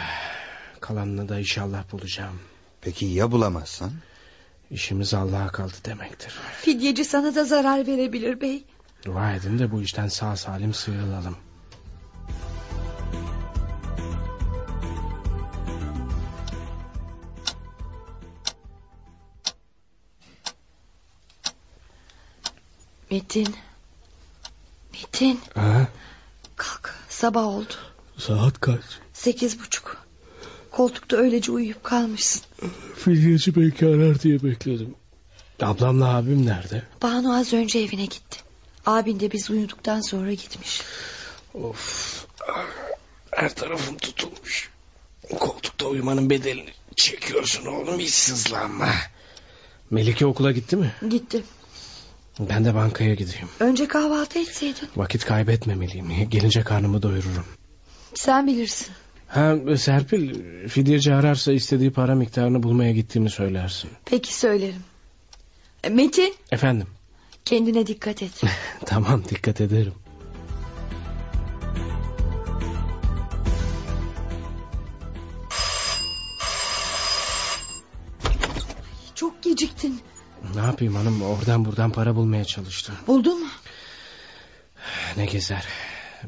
[SPEAKER 4] Kalanını da inşallah bulacağım.
[SPEAKER 10] Peki ya bulamazsan?
[SPEAKER 4] İşimiz Allah'a kaldı demektir.
[SPEAKER 7] Fidyeci sana da zarar verebilir bey.
[SPEAKER 4] Dua edin de bu işten sağ salim sıyrılalım.
[SPEAKER 5] Metin. Metin
[SPEAKER 4] Ha?
[SPEAKER 7] Kalk sabah oldu.
[SPEAKER 4] Saat kaç?
[SPEAKER 7] Sekiz buçuk. Koltukta öylece uyuyup kalmışsın.
[SPEAKER 4] Fidyeci belki arar diye bekledim. Ablamla abim nerede?
[SPEAKER 7] Banu az önce evine gitti. Abin de biz uyuduktan sonra gitmiş.
[SPEAKER 4] Of. Her tarafım tutulmuş. Koltukta uyumanın bedelini çekiyorsun oğlum hiç sızlanma. Melike okula gitti mi?
[SPEAKER 7] Gitti.
[SPEAKER 4] Ben de bankaya gideyim.
[SPEAKER 7] Önce kahvaltı etseydin.
[SPEAKER 4] Vakit kaybetmemeliyim. Gelince karnımı doyururum.
[SPEAKER 7] Sen bilirsin.
[SPEAKER 4] Ha, Serpil fidyeci ararsa istediği para miktarını bulmaya gittiğimi söylersin.
[SPEAKER 7] Peki söylerim. E, Metin
[SPEAKER 4] Efendim
[SPEAKER 7] kendine dikkat et.
[SPEAKER 4] tamam dikkat ederim.
[SPEAKER 7] Çok geciktin.
[SPEAKER 4] Ne yapayım hanım oradan buradan para bulmaya çalıştım.
[SPEAKER 7] Buldun mu?
[SPEAKER 4] Ne gezer.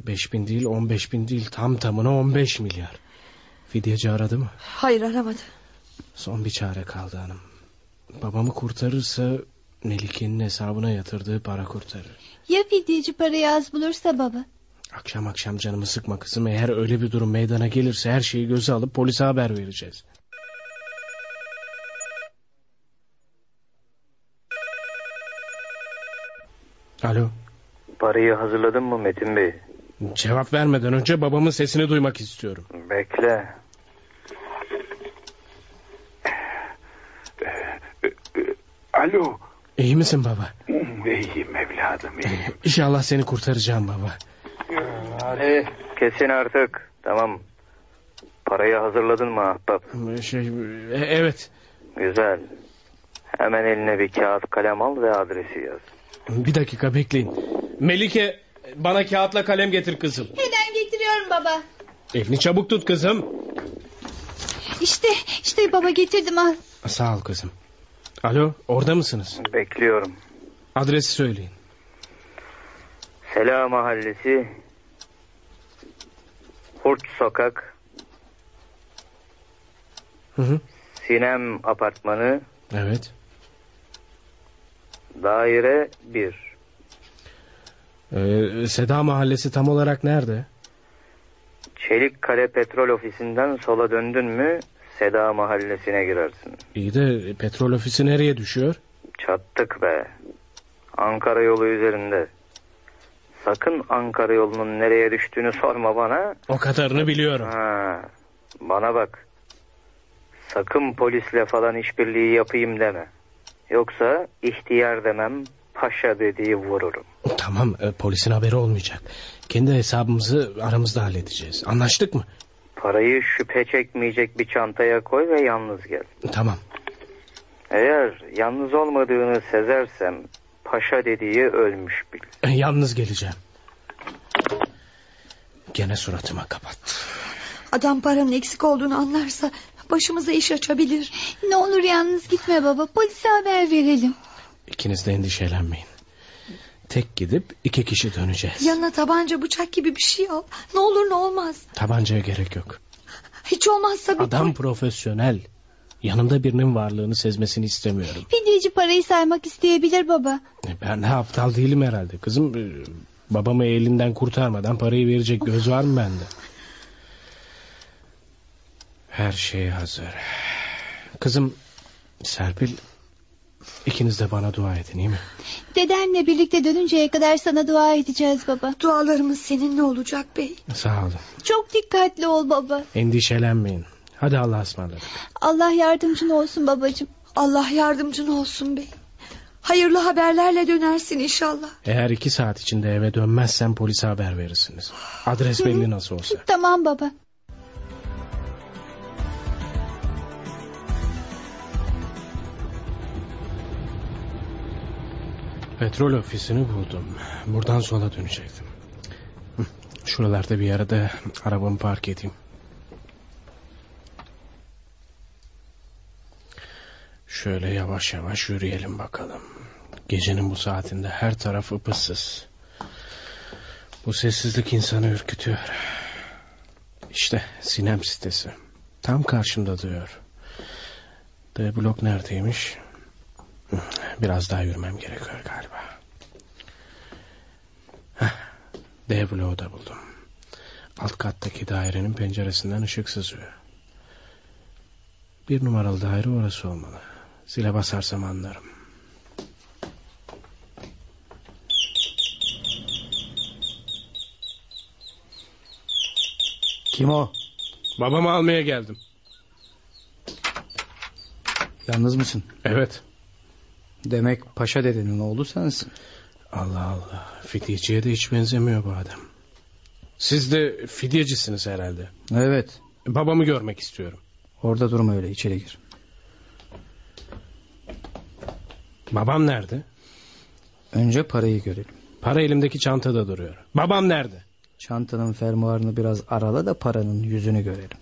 [SPEAKER 4] Beş bin değil on beş bin değil tam tamına on beş milyar. Fidyeci aradı mı?
[SPEAKER 7] Hayır aramadı.
[SPEAKER 4] Son bir çare kaldı hanım. Babamı kurtarırsa Melike'nin hesabına yatırdığı para kurtarır.
[SPEAKER 2] Ya fidyeci parayı az bulursa baba?
[SPEAKER 4] Akşam akşam canımı sıkma kızım. Eğer öyle bir durum meydana gelirse her şeyi göze alıp polise haber vereceğiz. Alo.
[SPEAKER 12] Parayı hazırladın mı Metin Bey?
[SPEAKER 4] Cevap vermeden önce babamın sesini duymak istiyorum.
[SPEAKER 12] Bekle.
[SPEAKER 6] Alo
[SPEAKER 4] İyi misin baba?
[SPEAKER 13] İyiyim evladım iyiyim.
[SPEAKER 4] İnşallah seni kurtaracağım baba.
[SPEAKER 11] Hadi kesin artık. Tamam. Parayı hazırladın mı ahbap?
[SPEAKER 4] Şey, evet.
[SPEAKER 11] Güzel. Hemen eline bir kağıt kalem al ve adresi yaz.
[SPEAKER 4] Bir dakika bekleyin. Melike bana kağıtla kalem getir kızım.
[SPEAKER 2] Hemen getiriyorum baba.
[SPEAKER 4] Elini çabuk tut kızım.
[SPEAKER 2] İşte işte baba getirdim al.
[SPEAKER 4] Sağ ol kızım. Alo orada mısınız?
[SPEAKER 11] Bekliyorum.
[SPEAKER 4] Adresi söyleyin.
[SPEAKER 11] Sela Mahallesi Hurt Sokak
[SPEAKER 4] Hı hı.
[SPEAKER 11] Sinem Apartmanı
[SPEAKER 4] Evet.
[SPEAKER 11] Daire 1
[SPEAKER 4] Ee, Seda mahallesi tam olarak nerede?
[SPEAKER 11] Çelikkale Petrol Ofisi'nden sola döndün mü Seda Mahallesi'ne girersin.
[SPEAKER 4] İyi de petrol ofisi nereye düşüyor?
[SPEAKER 11] Çattık be. Ankara yolu üzerinde. Sakın Ankara yolunun nereye düştüğünü sorma bana.
[SPEAKER 4] O kadarını biliyorum.
[SPEAKER 11] Ha, bana bak. Sakın polisle falan işbirliği yapayım deme. Yoksa ihtiyar demem, paşa dediği vururum.
[SPEAKER 4] Tamam e, polisin haberi olmayacak. Kendi hesabımızı aramızda halledeceğiz. Anlaştık mı?
[SPEAKER 11] Parayı şüphe çekmeyecek bir çantaya koy ve yalnız gel.
[SPEAKER 4] Tamam.
[SPEAKER 11] Eğer yalnız olmadığını sezersem paşa dediği ölmüş bil.
[SPEAKER 4] E, Yalnız geleceğim. Gene suratıma kapat.
[SPEAKER 7] Adam paranın eksik olduğunu anlarsa başımıza iş açabilir.
[SPEAKER 2] Ne olur yalnız gitme baba. Polise haber verelim.
[SPEAKER 4] İkiniz de endişelenmeyin. Tek gidip iki kişi döneceğiz.
[SPEAKER 7] Yanına tabanca bıçak gibi bir şey al. Ne olur ne olmaz.
[SPEAKER 4] Tabancaya gerek yok.
[SPEAKER 7] Hiç olmazsa bir
[SPEAKER 4] Adam profesyonel. Yanımda birinin varlığını sezmesini istemiyorum.
[SPEAKER 2] Fidyeci parayı saymak isteyebilir baba.
[SPEAKER 4] E, Ben de aptal değilim herhalde kızım. E, Babamı elinden kurtarmadan parayı verecek göz var mı bende? Her şey hazır. Kızım Serpil ikiniz de bana dua edin iyi mi?
[SPEAKER 2] Dedenle birlikte dönünceye kadar sana dua edeceğiz baba.
[SPEAKER 7] Dualarımız seninle olacak bey.
[SPEAKER 4] Sağ olun.
[SPEAKER 2] Çok dikkatli ol baba.
[SPEAKER 4] Endişelenmeyin. Hadi Allah'a ısmarladık.
[SPEAKER 2] Allah yardımcın olsun babacığım.
[SPEAKER 7] Allah yardımcın olsun bey. Hayırlı haberlerle dönersin inşallah.
[SPEAKER 4] Eğer iki saat içinde eve dönmezsen polise haber verirsiniz. Adres belli nasıl olsa.
[SPEAKER 2] Tamam baba.
[SPEAKER 4] Petrol ofisini buldum. Buradan sola dönecektim. Hı, Şuralarda bir yerde arabamı park edeyim. Şöyle yavaş yavaş yürüyelim bakalım. Gecenin bu saatinde her taraf ıpıssız. Bu sessizlik insanı ürkütüyor. İşte Sinem sitesi. Tam karşımda duruyor. D blok neredeymiş? Hı, Biraz daha yürümem gerekiyor galiba. Heh, D bloğu da buldum. Alt kattaki dairenin penceresinden ışık sızıyor. Bir numaralı daire orası olmalı. Zile basarsam anlarım.
[SPEAKER 14] Kim o?
[SPEAKER 4] Babamı almaya geldim.
[SPEAKER 14] Yalnız mısın?
[SPEAKER 4] Evet.
[SPEAKER 14] Demek paşa dedenin oğlu sensin.
[SPEAKER 4] Allah Allah. Fidyeciye de hiç benzemiyor bu adam. Siz de fidyecisiniz herhalde.
[SPEAKER 14] Evet.
[SPEAKER 4] Babamı görmek istiyorum.
[SPEAKER 14] Orada durma öyle içeri gir.
[SPEAKER 4] Babam nerede?
[SPEAKER 14] Önce parayı görelim.
[SPEAKER 4] Para elimdeki çantada duruyor. Babam nerede?
[SPEAKER 14] Çantanın fermuarını biraz arala da paranın yüzünü görelim.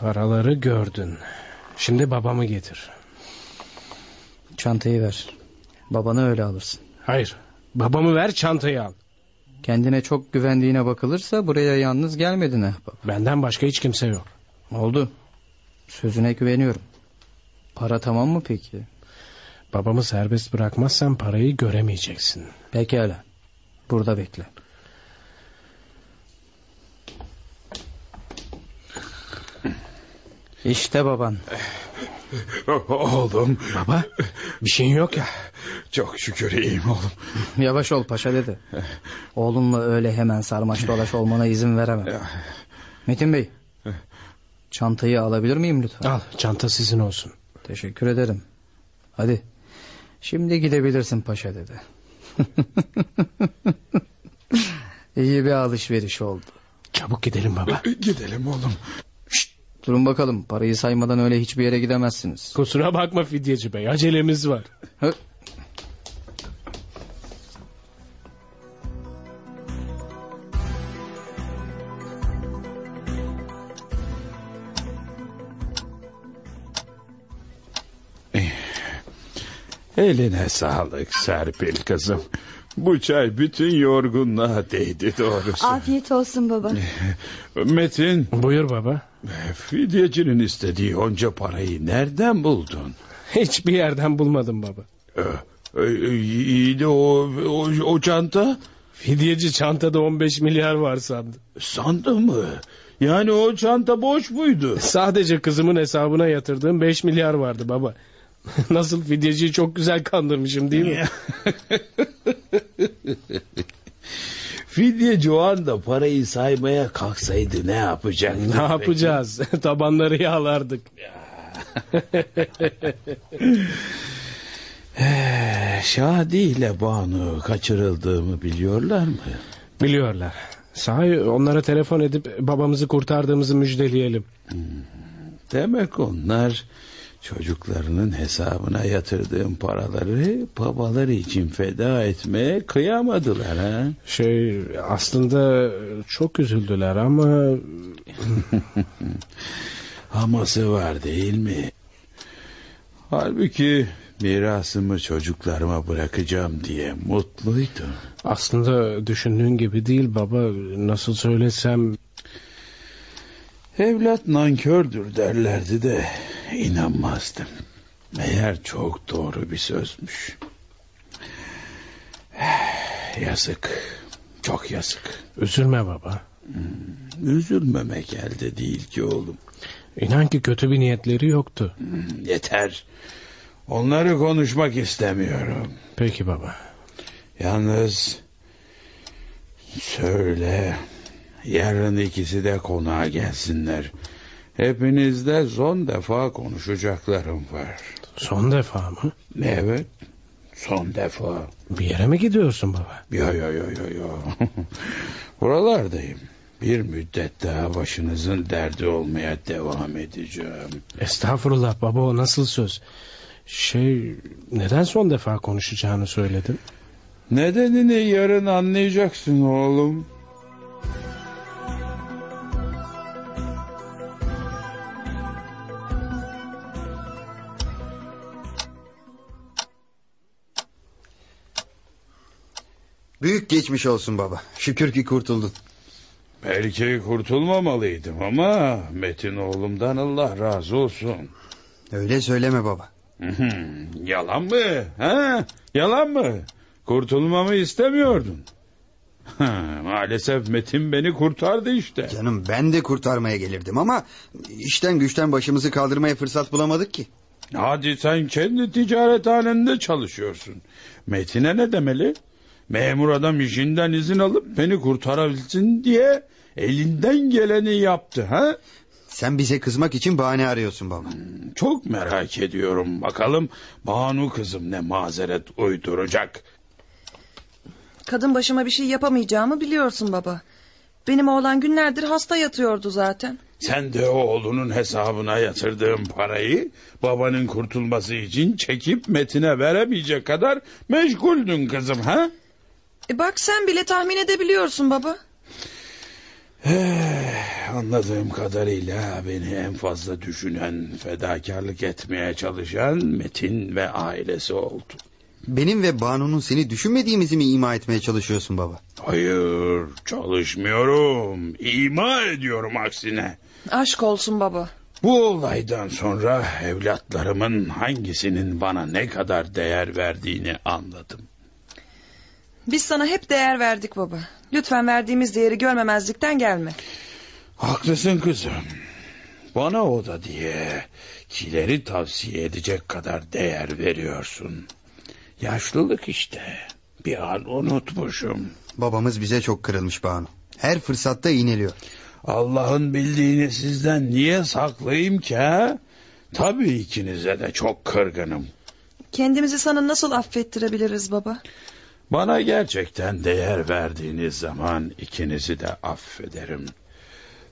[SPEAKER 4] Paraları gördün. Şimdi babamı getir.
[SPEAKER 14] Çantayı ver. Babana öyle alırsın.
[SPEAKER 4] Hayır. Babamı ver çantayı al.
[SPEAKER 14] Kendine çok güvendiğine bakılırsa buraya yalnız gelmedin ahbap.
[SPEAKER 4] Benden başka hiç kimse yok.
[SPEAKER 14] Oldu. Sözüne güveniyorum. Para tamam mı peki?
[SPEAKER 4] Babamı serbest bırakmazsan parayı göremeyeceksin.
[SPEAKER 14] Pekala. Burada bekle. İşte baban.
[SPEAKER 3] Oğlum.
[SPEAKER 4] Baba bir şeyin yok ya.
[SPEAKER 3] Çok şükür iyiyim oğlum.
[SPEAKER 14] Yavaş ol paşa dedi. Oğlumla öyle hemen sarmaş dolaş olmana izin veremem. Metin Bey. Çantayı alabilir miyim lütfen?
[SPEAKER 4] Al çanta sizin olsun.
[SPEAKER 14] Teşekkür ederim. Hadi
[SPEAKER 11] Şimdi gidebilirsin paşa dedi. İyi bir alışveriş oldu. Çabuk gidelim baba.
[SPEAKER 3] Gidelim oğlum.
[SPEAKER 11] Durun bakalım parayı saymadan öyle hiçbir yere gidemezsiniz.
[SPEAKER 4] Kusura bakma fidyeci bey acelemiz var.
[SPEAKER 3] Eline sağlık Serpil kızım. Bu çay bütün yorgunluğa değdi doğrusu.
[SPEAKER 15] Afiyet olsun baba.
[SPEAKER 3] Metin.
[SPEAKER 4] Buyur baba.
[SPEAKER 3] Fidyecinin istediği onca parayı nereden buldun?
[SPEAKER 4] Hiçbir yerden bulmadım baba.
[SPEAKER 3] iyi de e, o, o, o çanta.
[SPEAKER 4] Fidyeci çantada 15 milyar var sandı.
[SPEAKER 3] Sandı mı? Yani o çanta boş muydu?
[SPEAKER 4] Sadece kızımın hesabına yatırdığım 5 milyar vardı baba. Nasıl fidyeciyi çok güzel kandırmışım değil mi?
[SPEAKER 16] Fidyeci o anda parayı saymaya kalksaydı ne yapacaktı?
[SPEAKER 4] ne yapacağız? Tabanları yağlardık.
[SPEAKER 3] Eh, Şadi ile Banu kaçırıldığımı biliyorlar mı?
[SPEAKER 4] Biliyorlar. Sahi onlara telefon edip babamızı kurtardığımızı müjdeleyelim.
[SPEAKER 3] Demek onlar çocuklarının hesabına yatırdığım paraları babaları için feda etmeye kıyamadılar ha.
[SPEAKER 4] Şey aslında çok üzüldüler ama...
[SPEAKER 3] Haması var değil mi? Halbuki mirasımı çocuklarıma bırakacağım diye mutluydum.
[SPEAKER 4] Aslında düşündüğün gibi değil baba. Nasıl söylesem...
[SPEAKER 3] Evlat nankördür derlerdi de inanmazdım. Meğer çok doğru bir sözmüş. Eh, Yazık. Çok yazık.
[SPEAKER 4] Üzülme baba.
[SPEAKER 3] Üzülmemek elde değil ki oğlum. Hmm,
[SPEAKER 4] İnan ki kötü bir niyetleri yoktu.
[SPEAKER 3] Yeter. Onları konuşmak istemiyorum.
[SPEAKER 4] Peki baba.
[SPEAKER 3] Yalnız söyle yarın ikisi de konağa gelsinler. Hepinizde son defa konuşacaklarım var.
[SPEAKER 4] Son defa mı?
[SPEAKER 3] Evet. Son defa.
[SPEAKER 4] Bir yere mi gidiyorsun baba?
[SPEAKER 3] Yo yo yo yo yo. Buralardayım. Bir müddet daha başınızın derdi olmaya devam edeceğim.
[SPEAKER 4] Estağfurullah baba o nasıl söz? Şey neden son defa konuşacağını söyledin?
[SPEAKER 3] Nedenini yarın anlayacaksın oğlum.
[SPEAKER 10] Büyük geçmiş olsun baba. Şükür ki kurtuldun.
[SPEAKER 3] Belki kurtulmamalıydım ama Metin oğlumdan Allah razı olsun.
[SPEAKER 10] Öyle söyleme baba.
[SPEAKER 3] Yalan mı? Ha? Yalan mı? Kurtulmamı istemiyordun. Ha, maalesef Metin beni kurtardı işte.
[SPEAKER 10] Canım ben de kurtarmaya gelirdim ama işten güçten başımızı kaldırmaya fırsat bulamadık ki.
[SPEAKER 3] Hadi sen kendi ticarethanende çalışıyorsun. Metin'e ne demeli? Memur adam işinden izin alıp beni kurtarabilsin diye elinden geleni yaptı ha?
[SPEAKER 10] Sen bize kızmak için bahane arıyorsun baba.
[SPEAKER 3] Çok merak ediyorum bakalım Banu kızım ne mazeret uyduracak.
[SPEAKER 7] Kadın başıma bir şey yapamayacağımı biliyorsun baba. Benim oğlan günlerdir hasta yatıyordu zaten.
[SPEAKER 3] Sen de oğlunun hesabına yatırdığın parayı babanın kurtulması için çekip Metin'e veremeyecek kadar meşguldün kızım ha?
[SPEAKER 7] E bak sen bile tahmin edebiliyorsun baba.
[SPEAKER 3] Eh, Anladığım kadarıyla beni en fazla düşünen, fedakarlık etmeye çalışan Metin ve ailesi oldu.
[SPEAKER 10] Benim ve Banu'nun seni düşünmediğimizi mi ima etmeye çalışıyorsun baba?
[SPEAKER 3] Hayır, çalışmıyorum. İma ediyorum aksine.
[SPEAKER 7] Aşk olsun baba.
[SPEAKER 3] Bu olaydan sonra evlatlarımın hangisinin bana ne kadar değer verdiğini anladım.
[SPEAKER 7] Biz sana hep değer verdik baba. Lütfen verdiğimiz değeri görmemezlikten gelme.
[SPEAKER 3] Haklısın kızım. Bana o da diye kileri tavsiye edecek kadar değer veriyorsun. Yaşlılık işte. Bir an unutmuşum.
[SPEAKER 10] Babamız bize çok kırılmış Banu. Her fırsatta iğneliyor.
[SPEAKER 3] Allah'ın bildiğini sizden niye saklayayım ki ha? Tabii ikinize de çok kırgınım.
[SPEAKER 7] Kendimizi sana nasıl affettirebiliriz baba?
[SPEAKER 3] Bana gerçekten değer verdiğiniz zaman ikinizi de affederim.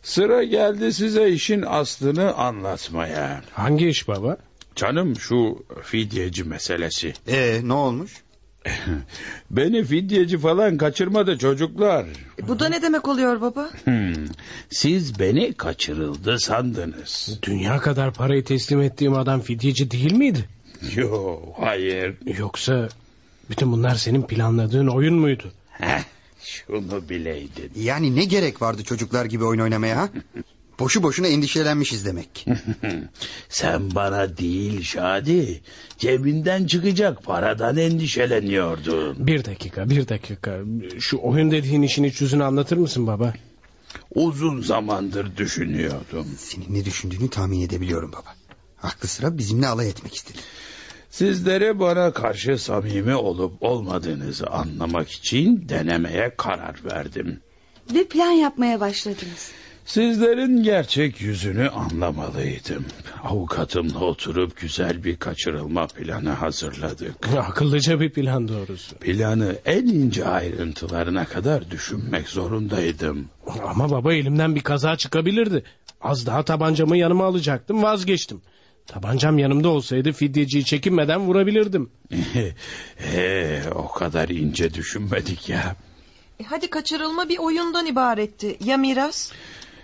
[SPEAKER 3] Sıra geldi size işin aslını anlatmaya.
[SPEAKER 4] Hangi iş baba?
[SPEAKER 3] Canım şu fidyeci meselesi.
[SPEAKER 10] Ee ne olmuş?
[SPEAKER 3] Beni fidyeci falan kaçırmadı çocuklar.
[SPEAKER 7] E Bu da ne demek oluyor baba?
[SPEAKER 3] Hmm, Siz beni kaçırıldı sandınız.
[SPEAKER 4] Dünya kadar parayı teslim ettiğim adam fidyeci değil miydi?
[SPEAKER 3] Yo, hayır.
[SPEAKER 4] Yoksa bütün bunlar senin planladığın oyun muydu?
[SPEAKER 3] Şunu bileydin.
[SPEAKER 10] Yani ne gerek vardı çocuklar gibi oyun oynamaya ha? Boşu boşuna endişelenmişiz demek.
[SPEAKER 17] Sen bana değil Şadi. Cebinden çıkacak paradan endişeleniyordun.
[SPEAKER 4] Bir dakika, bir dakika. Şu oyun dediğin işin iç yüzünü anlatır mısın baba?
[SPEAKER 3] Uzun zamandır düşünüyordum.
[SPEAKER 10] Senin ne düşündüğünü tahmin edebiliyorum baba. Aklı sıra bizimle alay etmek istedi.
[SPEAKER 3] Sizlere bana karşı samimi olup olmadığınızı anlamak için denemeye karar verdim.
[SPEAKER 18] Ve plan yapmaya başladınız.
[SPEAKER 3] Sizlerin gerçek yüzünü anlamalıydım. Avukatımla oturup güzel bir kaçırılma planı hazırladık.
[SPEAKER 4] Akıllıca bir plan doğrusu.
[SPEAKER 3] Planı en ince ayrıntılarına kadar düşünmek zorundaydım.
[SPEAKER 4] Ama baba elimden bir kaza çıkabilirdi. Az daha tabancamı yanıma alacaktım vazgeçtim. Tabancam yanımda olsaydı fidyeciyi çekinmeden vurabilirdim.
[SPEAKER 3] Ee, o kadar ince düşünmedik ya.
[SPEAKER 7] E hadi kaçırılma bir oyundan ibaretti. Ya miras?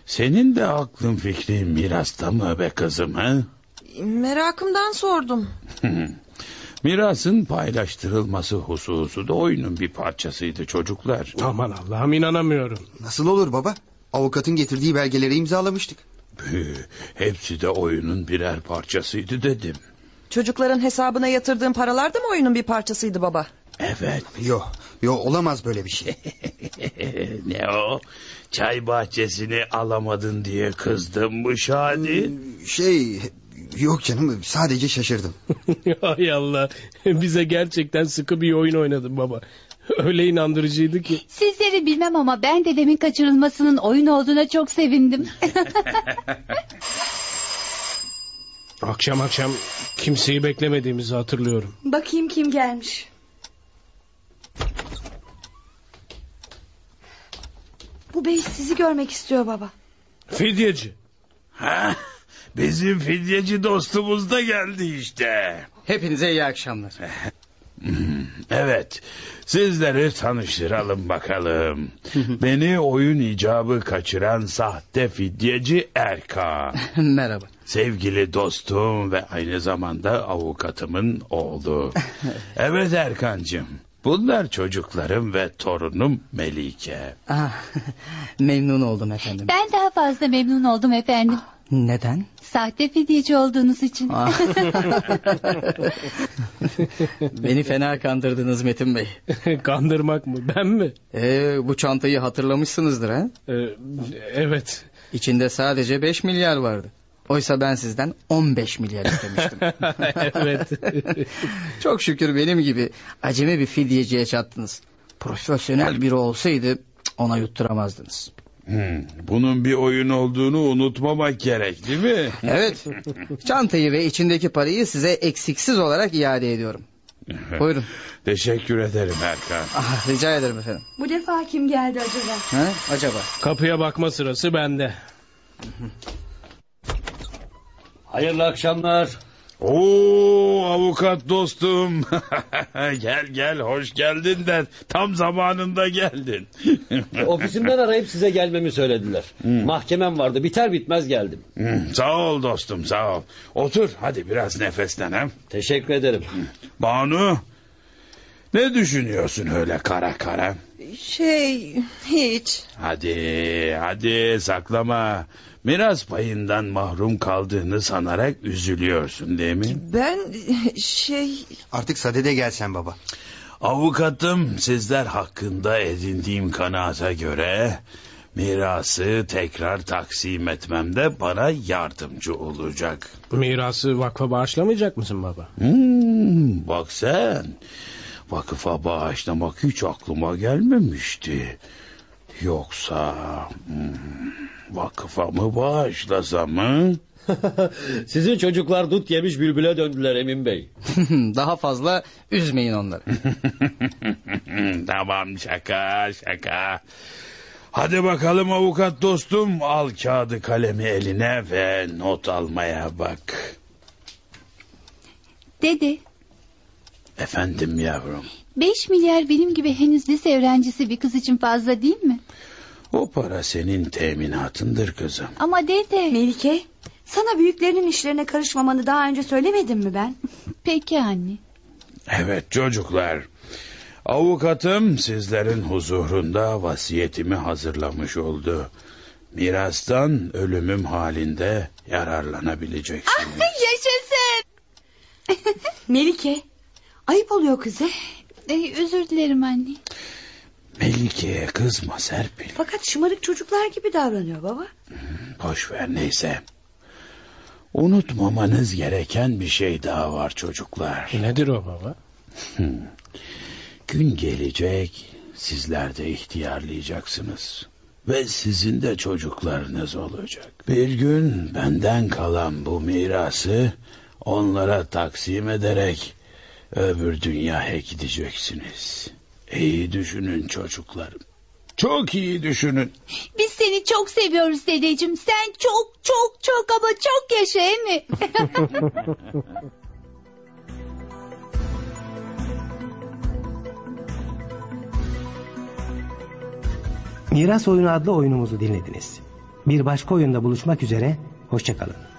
[SPEAKER 3] Senin de aklın fikrin mirasta mı be kızım ha?
[SPEAKER 7] E, Merakımdan sordum.
[SPEAKER 3] Mirasın paylaştırılması hususu da oyunun bir parçasıydı çocuklar.
[SPEAKER 4] Aman Allah'ım inanamıyorum.
[SPEAKER 10] Nasıl olur baba? Avukatın getirdiği belgeleri imzalamıştık.
[SPEAKER 3] Püh, hepsi de oyunun birer parçasıydı dedim.
[SPEAKER 7] Çocukların hesabına yatırdığın paralar da mı oyunun bir parçasıydı baba?
[SPEAKER 3] Evet.
[SPEAKER 10] Yok, yok olamaz böyle bir şey.
[SPEAKER 17] ne o? Çay bahçesini alamadın diye kızdın mı Şadi?
[SPEAKER 10] Şey, yok canım sadece şaşırdım.
[SPEAKER 4] Hay Allah. Bize gerçekten sıkı bir oyun oynadın baba. Öyle inandırıcıydı ki.
[SPEAKER 2] Sizleri bilmem ama ben dedemin kaçırılmasının oyun olduğuna çok sevindim.
[SPEAKER 4] Akşam akşam kimseyi beklemediğimizi hatırlıyorum.
[SPEAKER 18] Bakayım kim gelmiş. Bu bey sizi görmek istiyor baba.
[SPEAKER 4] Fidyeci.
[SPEAKER 17] Ha? Bizim fidyeci dostumuz da geldi işte.
[SPEAKER 11] Hepinize iyi akşamlar.
[SPEAKER 3] Evet, sizleri tanıştıralım bakalım. Beni oyun icabı kaçıran sahte fidyeci Erka.
[SPEAKER 11] Merhaba.
[SPEAKER 3] Sevgili dostum ve aynı zamanda avukatımın oğlu. Evet Erkancığım, bunlar çocuklarım ve torunum Melike.
[SPEAKER 11] Ah, memnun oldum efendim.
[SPEAKER 2] ben daha fazla memnun oldum efendim.
[SPEAKER 11] Neden?
[SPEAKER 2] Sahte fidyeci olduğunuz için.
[SPEAKER 11] Ah. Beni fena kandırdınız Metin Bey.
[SPEAKER 4] Kandırmak mı? Ben mi? Ee,
[SPEAKER 11] Ee, bu çantayı hatırlamışsınızdır ha?
[SPEAKER 4] evet.
[SPEAKER 11] İçinde sadece 5 milyar vardı. Oysa ben sizden 15 milyar istemiştim.
[SPEAKER 4] evet.
[SPEAKER 11] Çok şükür benim gibi acemi bir fidyeciye çattınız. Profesyonel biri olsaydı ona yutturamazdınız.
[SPEAKER 3] Hmm, bunun bir oyun olduğunu unutmamak gerek değil mi?
[SPEAKER 11] Evet. Çantayı ve içindeki parayı size eksiksiz olarak iade ediyorum. Buyurun.
[SPEAKER 3] Teşekkür ederim Erkan.
[SPEAKER 11] Ah, rica ederim efendim.
[SPEAKER 18] Bu defa kim geldi acaba?
[SPEAKER 11] Ha, acaba?
[SPEAKER 4] Kapıya bakma sırası bende.
[SPEAKER 8] Hayırlı akşamlar.
[SPEAKER 3] Oo avukat dostum. gel gel hoş geldin de tam zamanında geldin.
[SPEAKER 8] Ofisimden arayıp size gelmemi söylediler.
[SPEAKER 19] Hmm.
[SPEAKER 8] Mahkemem vardı biter bitmez geldim.
[SPEAKER 3] Hmm, sağ ol dostum sağ ol. Otur hadi biraz nefeslen hem.
[SPEAKER 8] Teşekkür ederim.
[SPEAKER 3] Banu ne düşünüyorsun öyle kara kara?
[SPEAKER 7] Şey hiç.
[SPEAKER 3] Hadi hadi saklama. Miras payından mahrum kaldığını sanarak üzülüyorsun değil mi?
[SPEAKER 7] Ben şey
[SPEAKER 10] Artık sadede gelsen baba.
[SPEAKER 3] Avukatım sizler hakkında edindiğim kanaata göre mirası tekrar taksim etmemde bana yardımcı olacak.
[SPEAKER 4] Bu mirası vakfa bağışlamayacak mısın baba?
[SPEAKER 3] Hmm, bak sen vakıfa bağışlamak hiç aklıma gelmemişti. Yoksa... hmm, Vakıfa mı bağışlasam mı?
[SPEAKER 8] Sizin çocuklar dut yemiş bülbüle döndüler Emin Bey.
[SPEAKER 19] Daha fazla üzmeyin onları.
[SPEAKER 3] tamam şaka şaka. Hadi bakalım avukat dostum al kağıdı kalemi eline ve not almaya bak.
[SPEAKER 2] Dede,
[SPEAKER 3] Efendim yavrum
[SPEAKER 2] 5 milyar benim gibi henüz lise öğrencisi bir kız için fazla değil mi?
[SPEAKER 3] o para senin teminatındır kızım.
[SPEAKER 2] Ama dede...
[SPEAKER 7] Melike, sana büyüklerinin işlerine karışmamanı daha önce söylemedim mi ben?
[SPEAKER 2] Peki anne.
[SPEAKER 3] Evet çocuklar. Avukatım sizlerin huzurunda vasiyetimi hazırlamış oldu. Mirastan ölümüm halinde yararlanabileceksiniz.
[SPEAKER 2] Yaşasın.
[SPEAKER 7] Melike, ayıp oluyor kıza.
[SPEAKER 2] özür dilerim anne.
[SPEAKER 3] Melike'ye kızma Serpil.
[SPEAKER 7] Fakat şımarık çocuklar gibi davranıyor baba.
[SPEAKER 3] Boş ver neyse. Unutmamanız gereken bir şey daha var çocuklar.
[SPEAKER 4] Nedir o baba?
[SPEAKER 3] Gün gelecek sizler de ihtiyarlayacaksınız. Ve sizin de çocuklarınız olacak. Bir gün benden kalan bu mirası onlara taksim ederek öbür dünyaya gideceksiniz. İyi düşünün çocuklarım. Çok iyi düşünün.
[SPEAKER 2] Biz seni çok seviyoruz dedeciğim. Sen çok çok çok ama çok yaşa değil mi?
[SPEAKER 1] Miras Oyunu adlı oyunumuzu dinlediniz. Bir başka oyunda buluşmak üzere, hoşçakalın.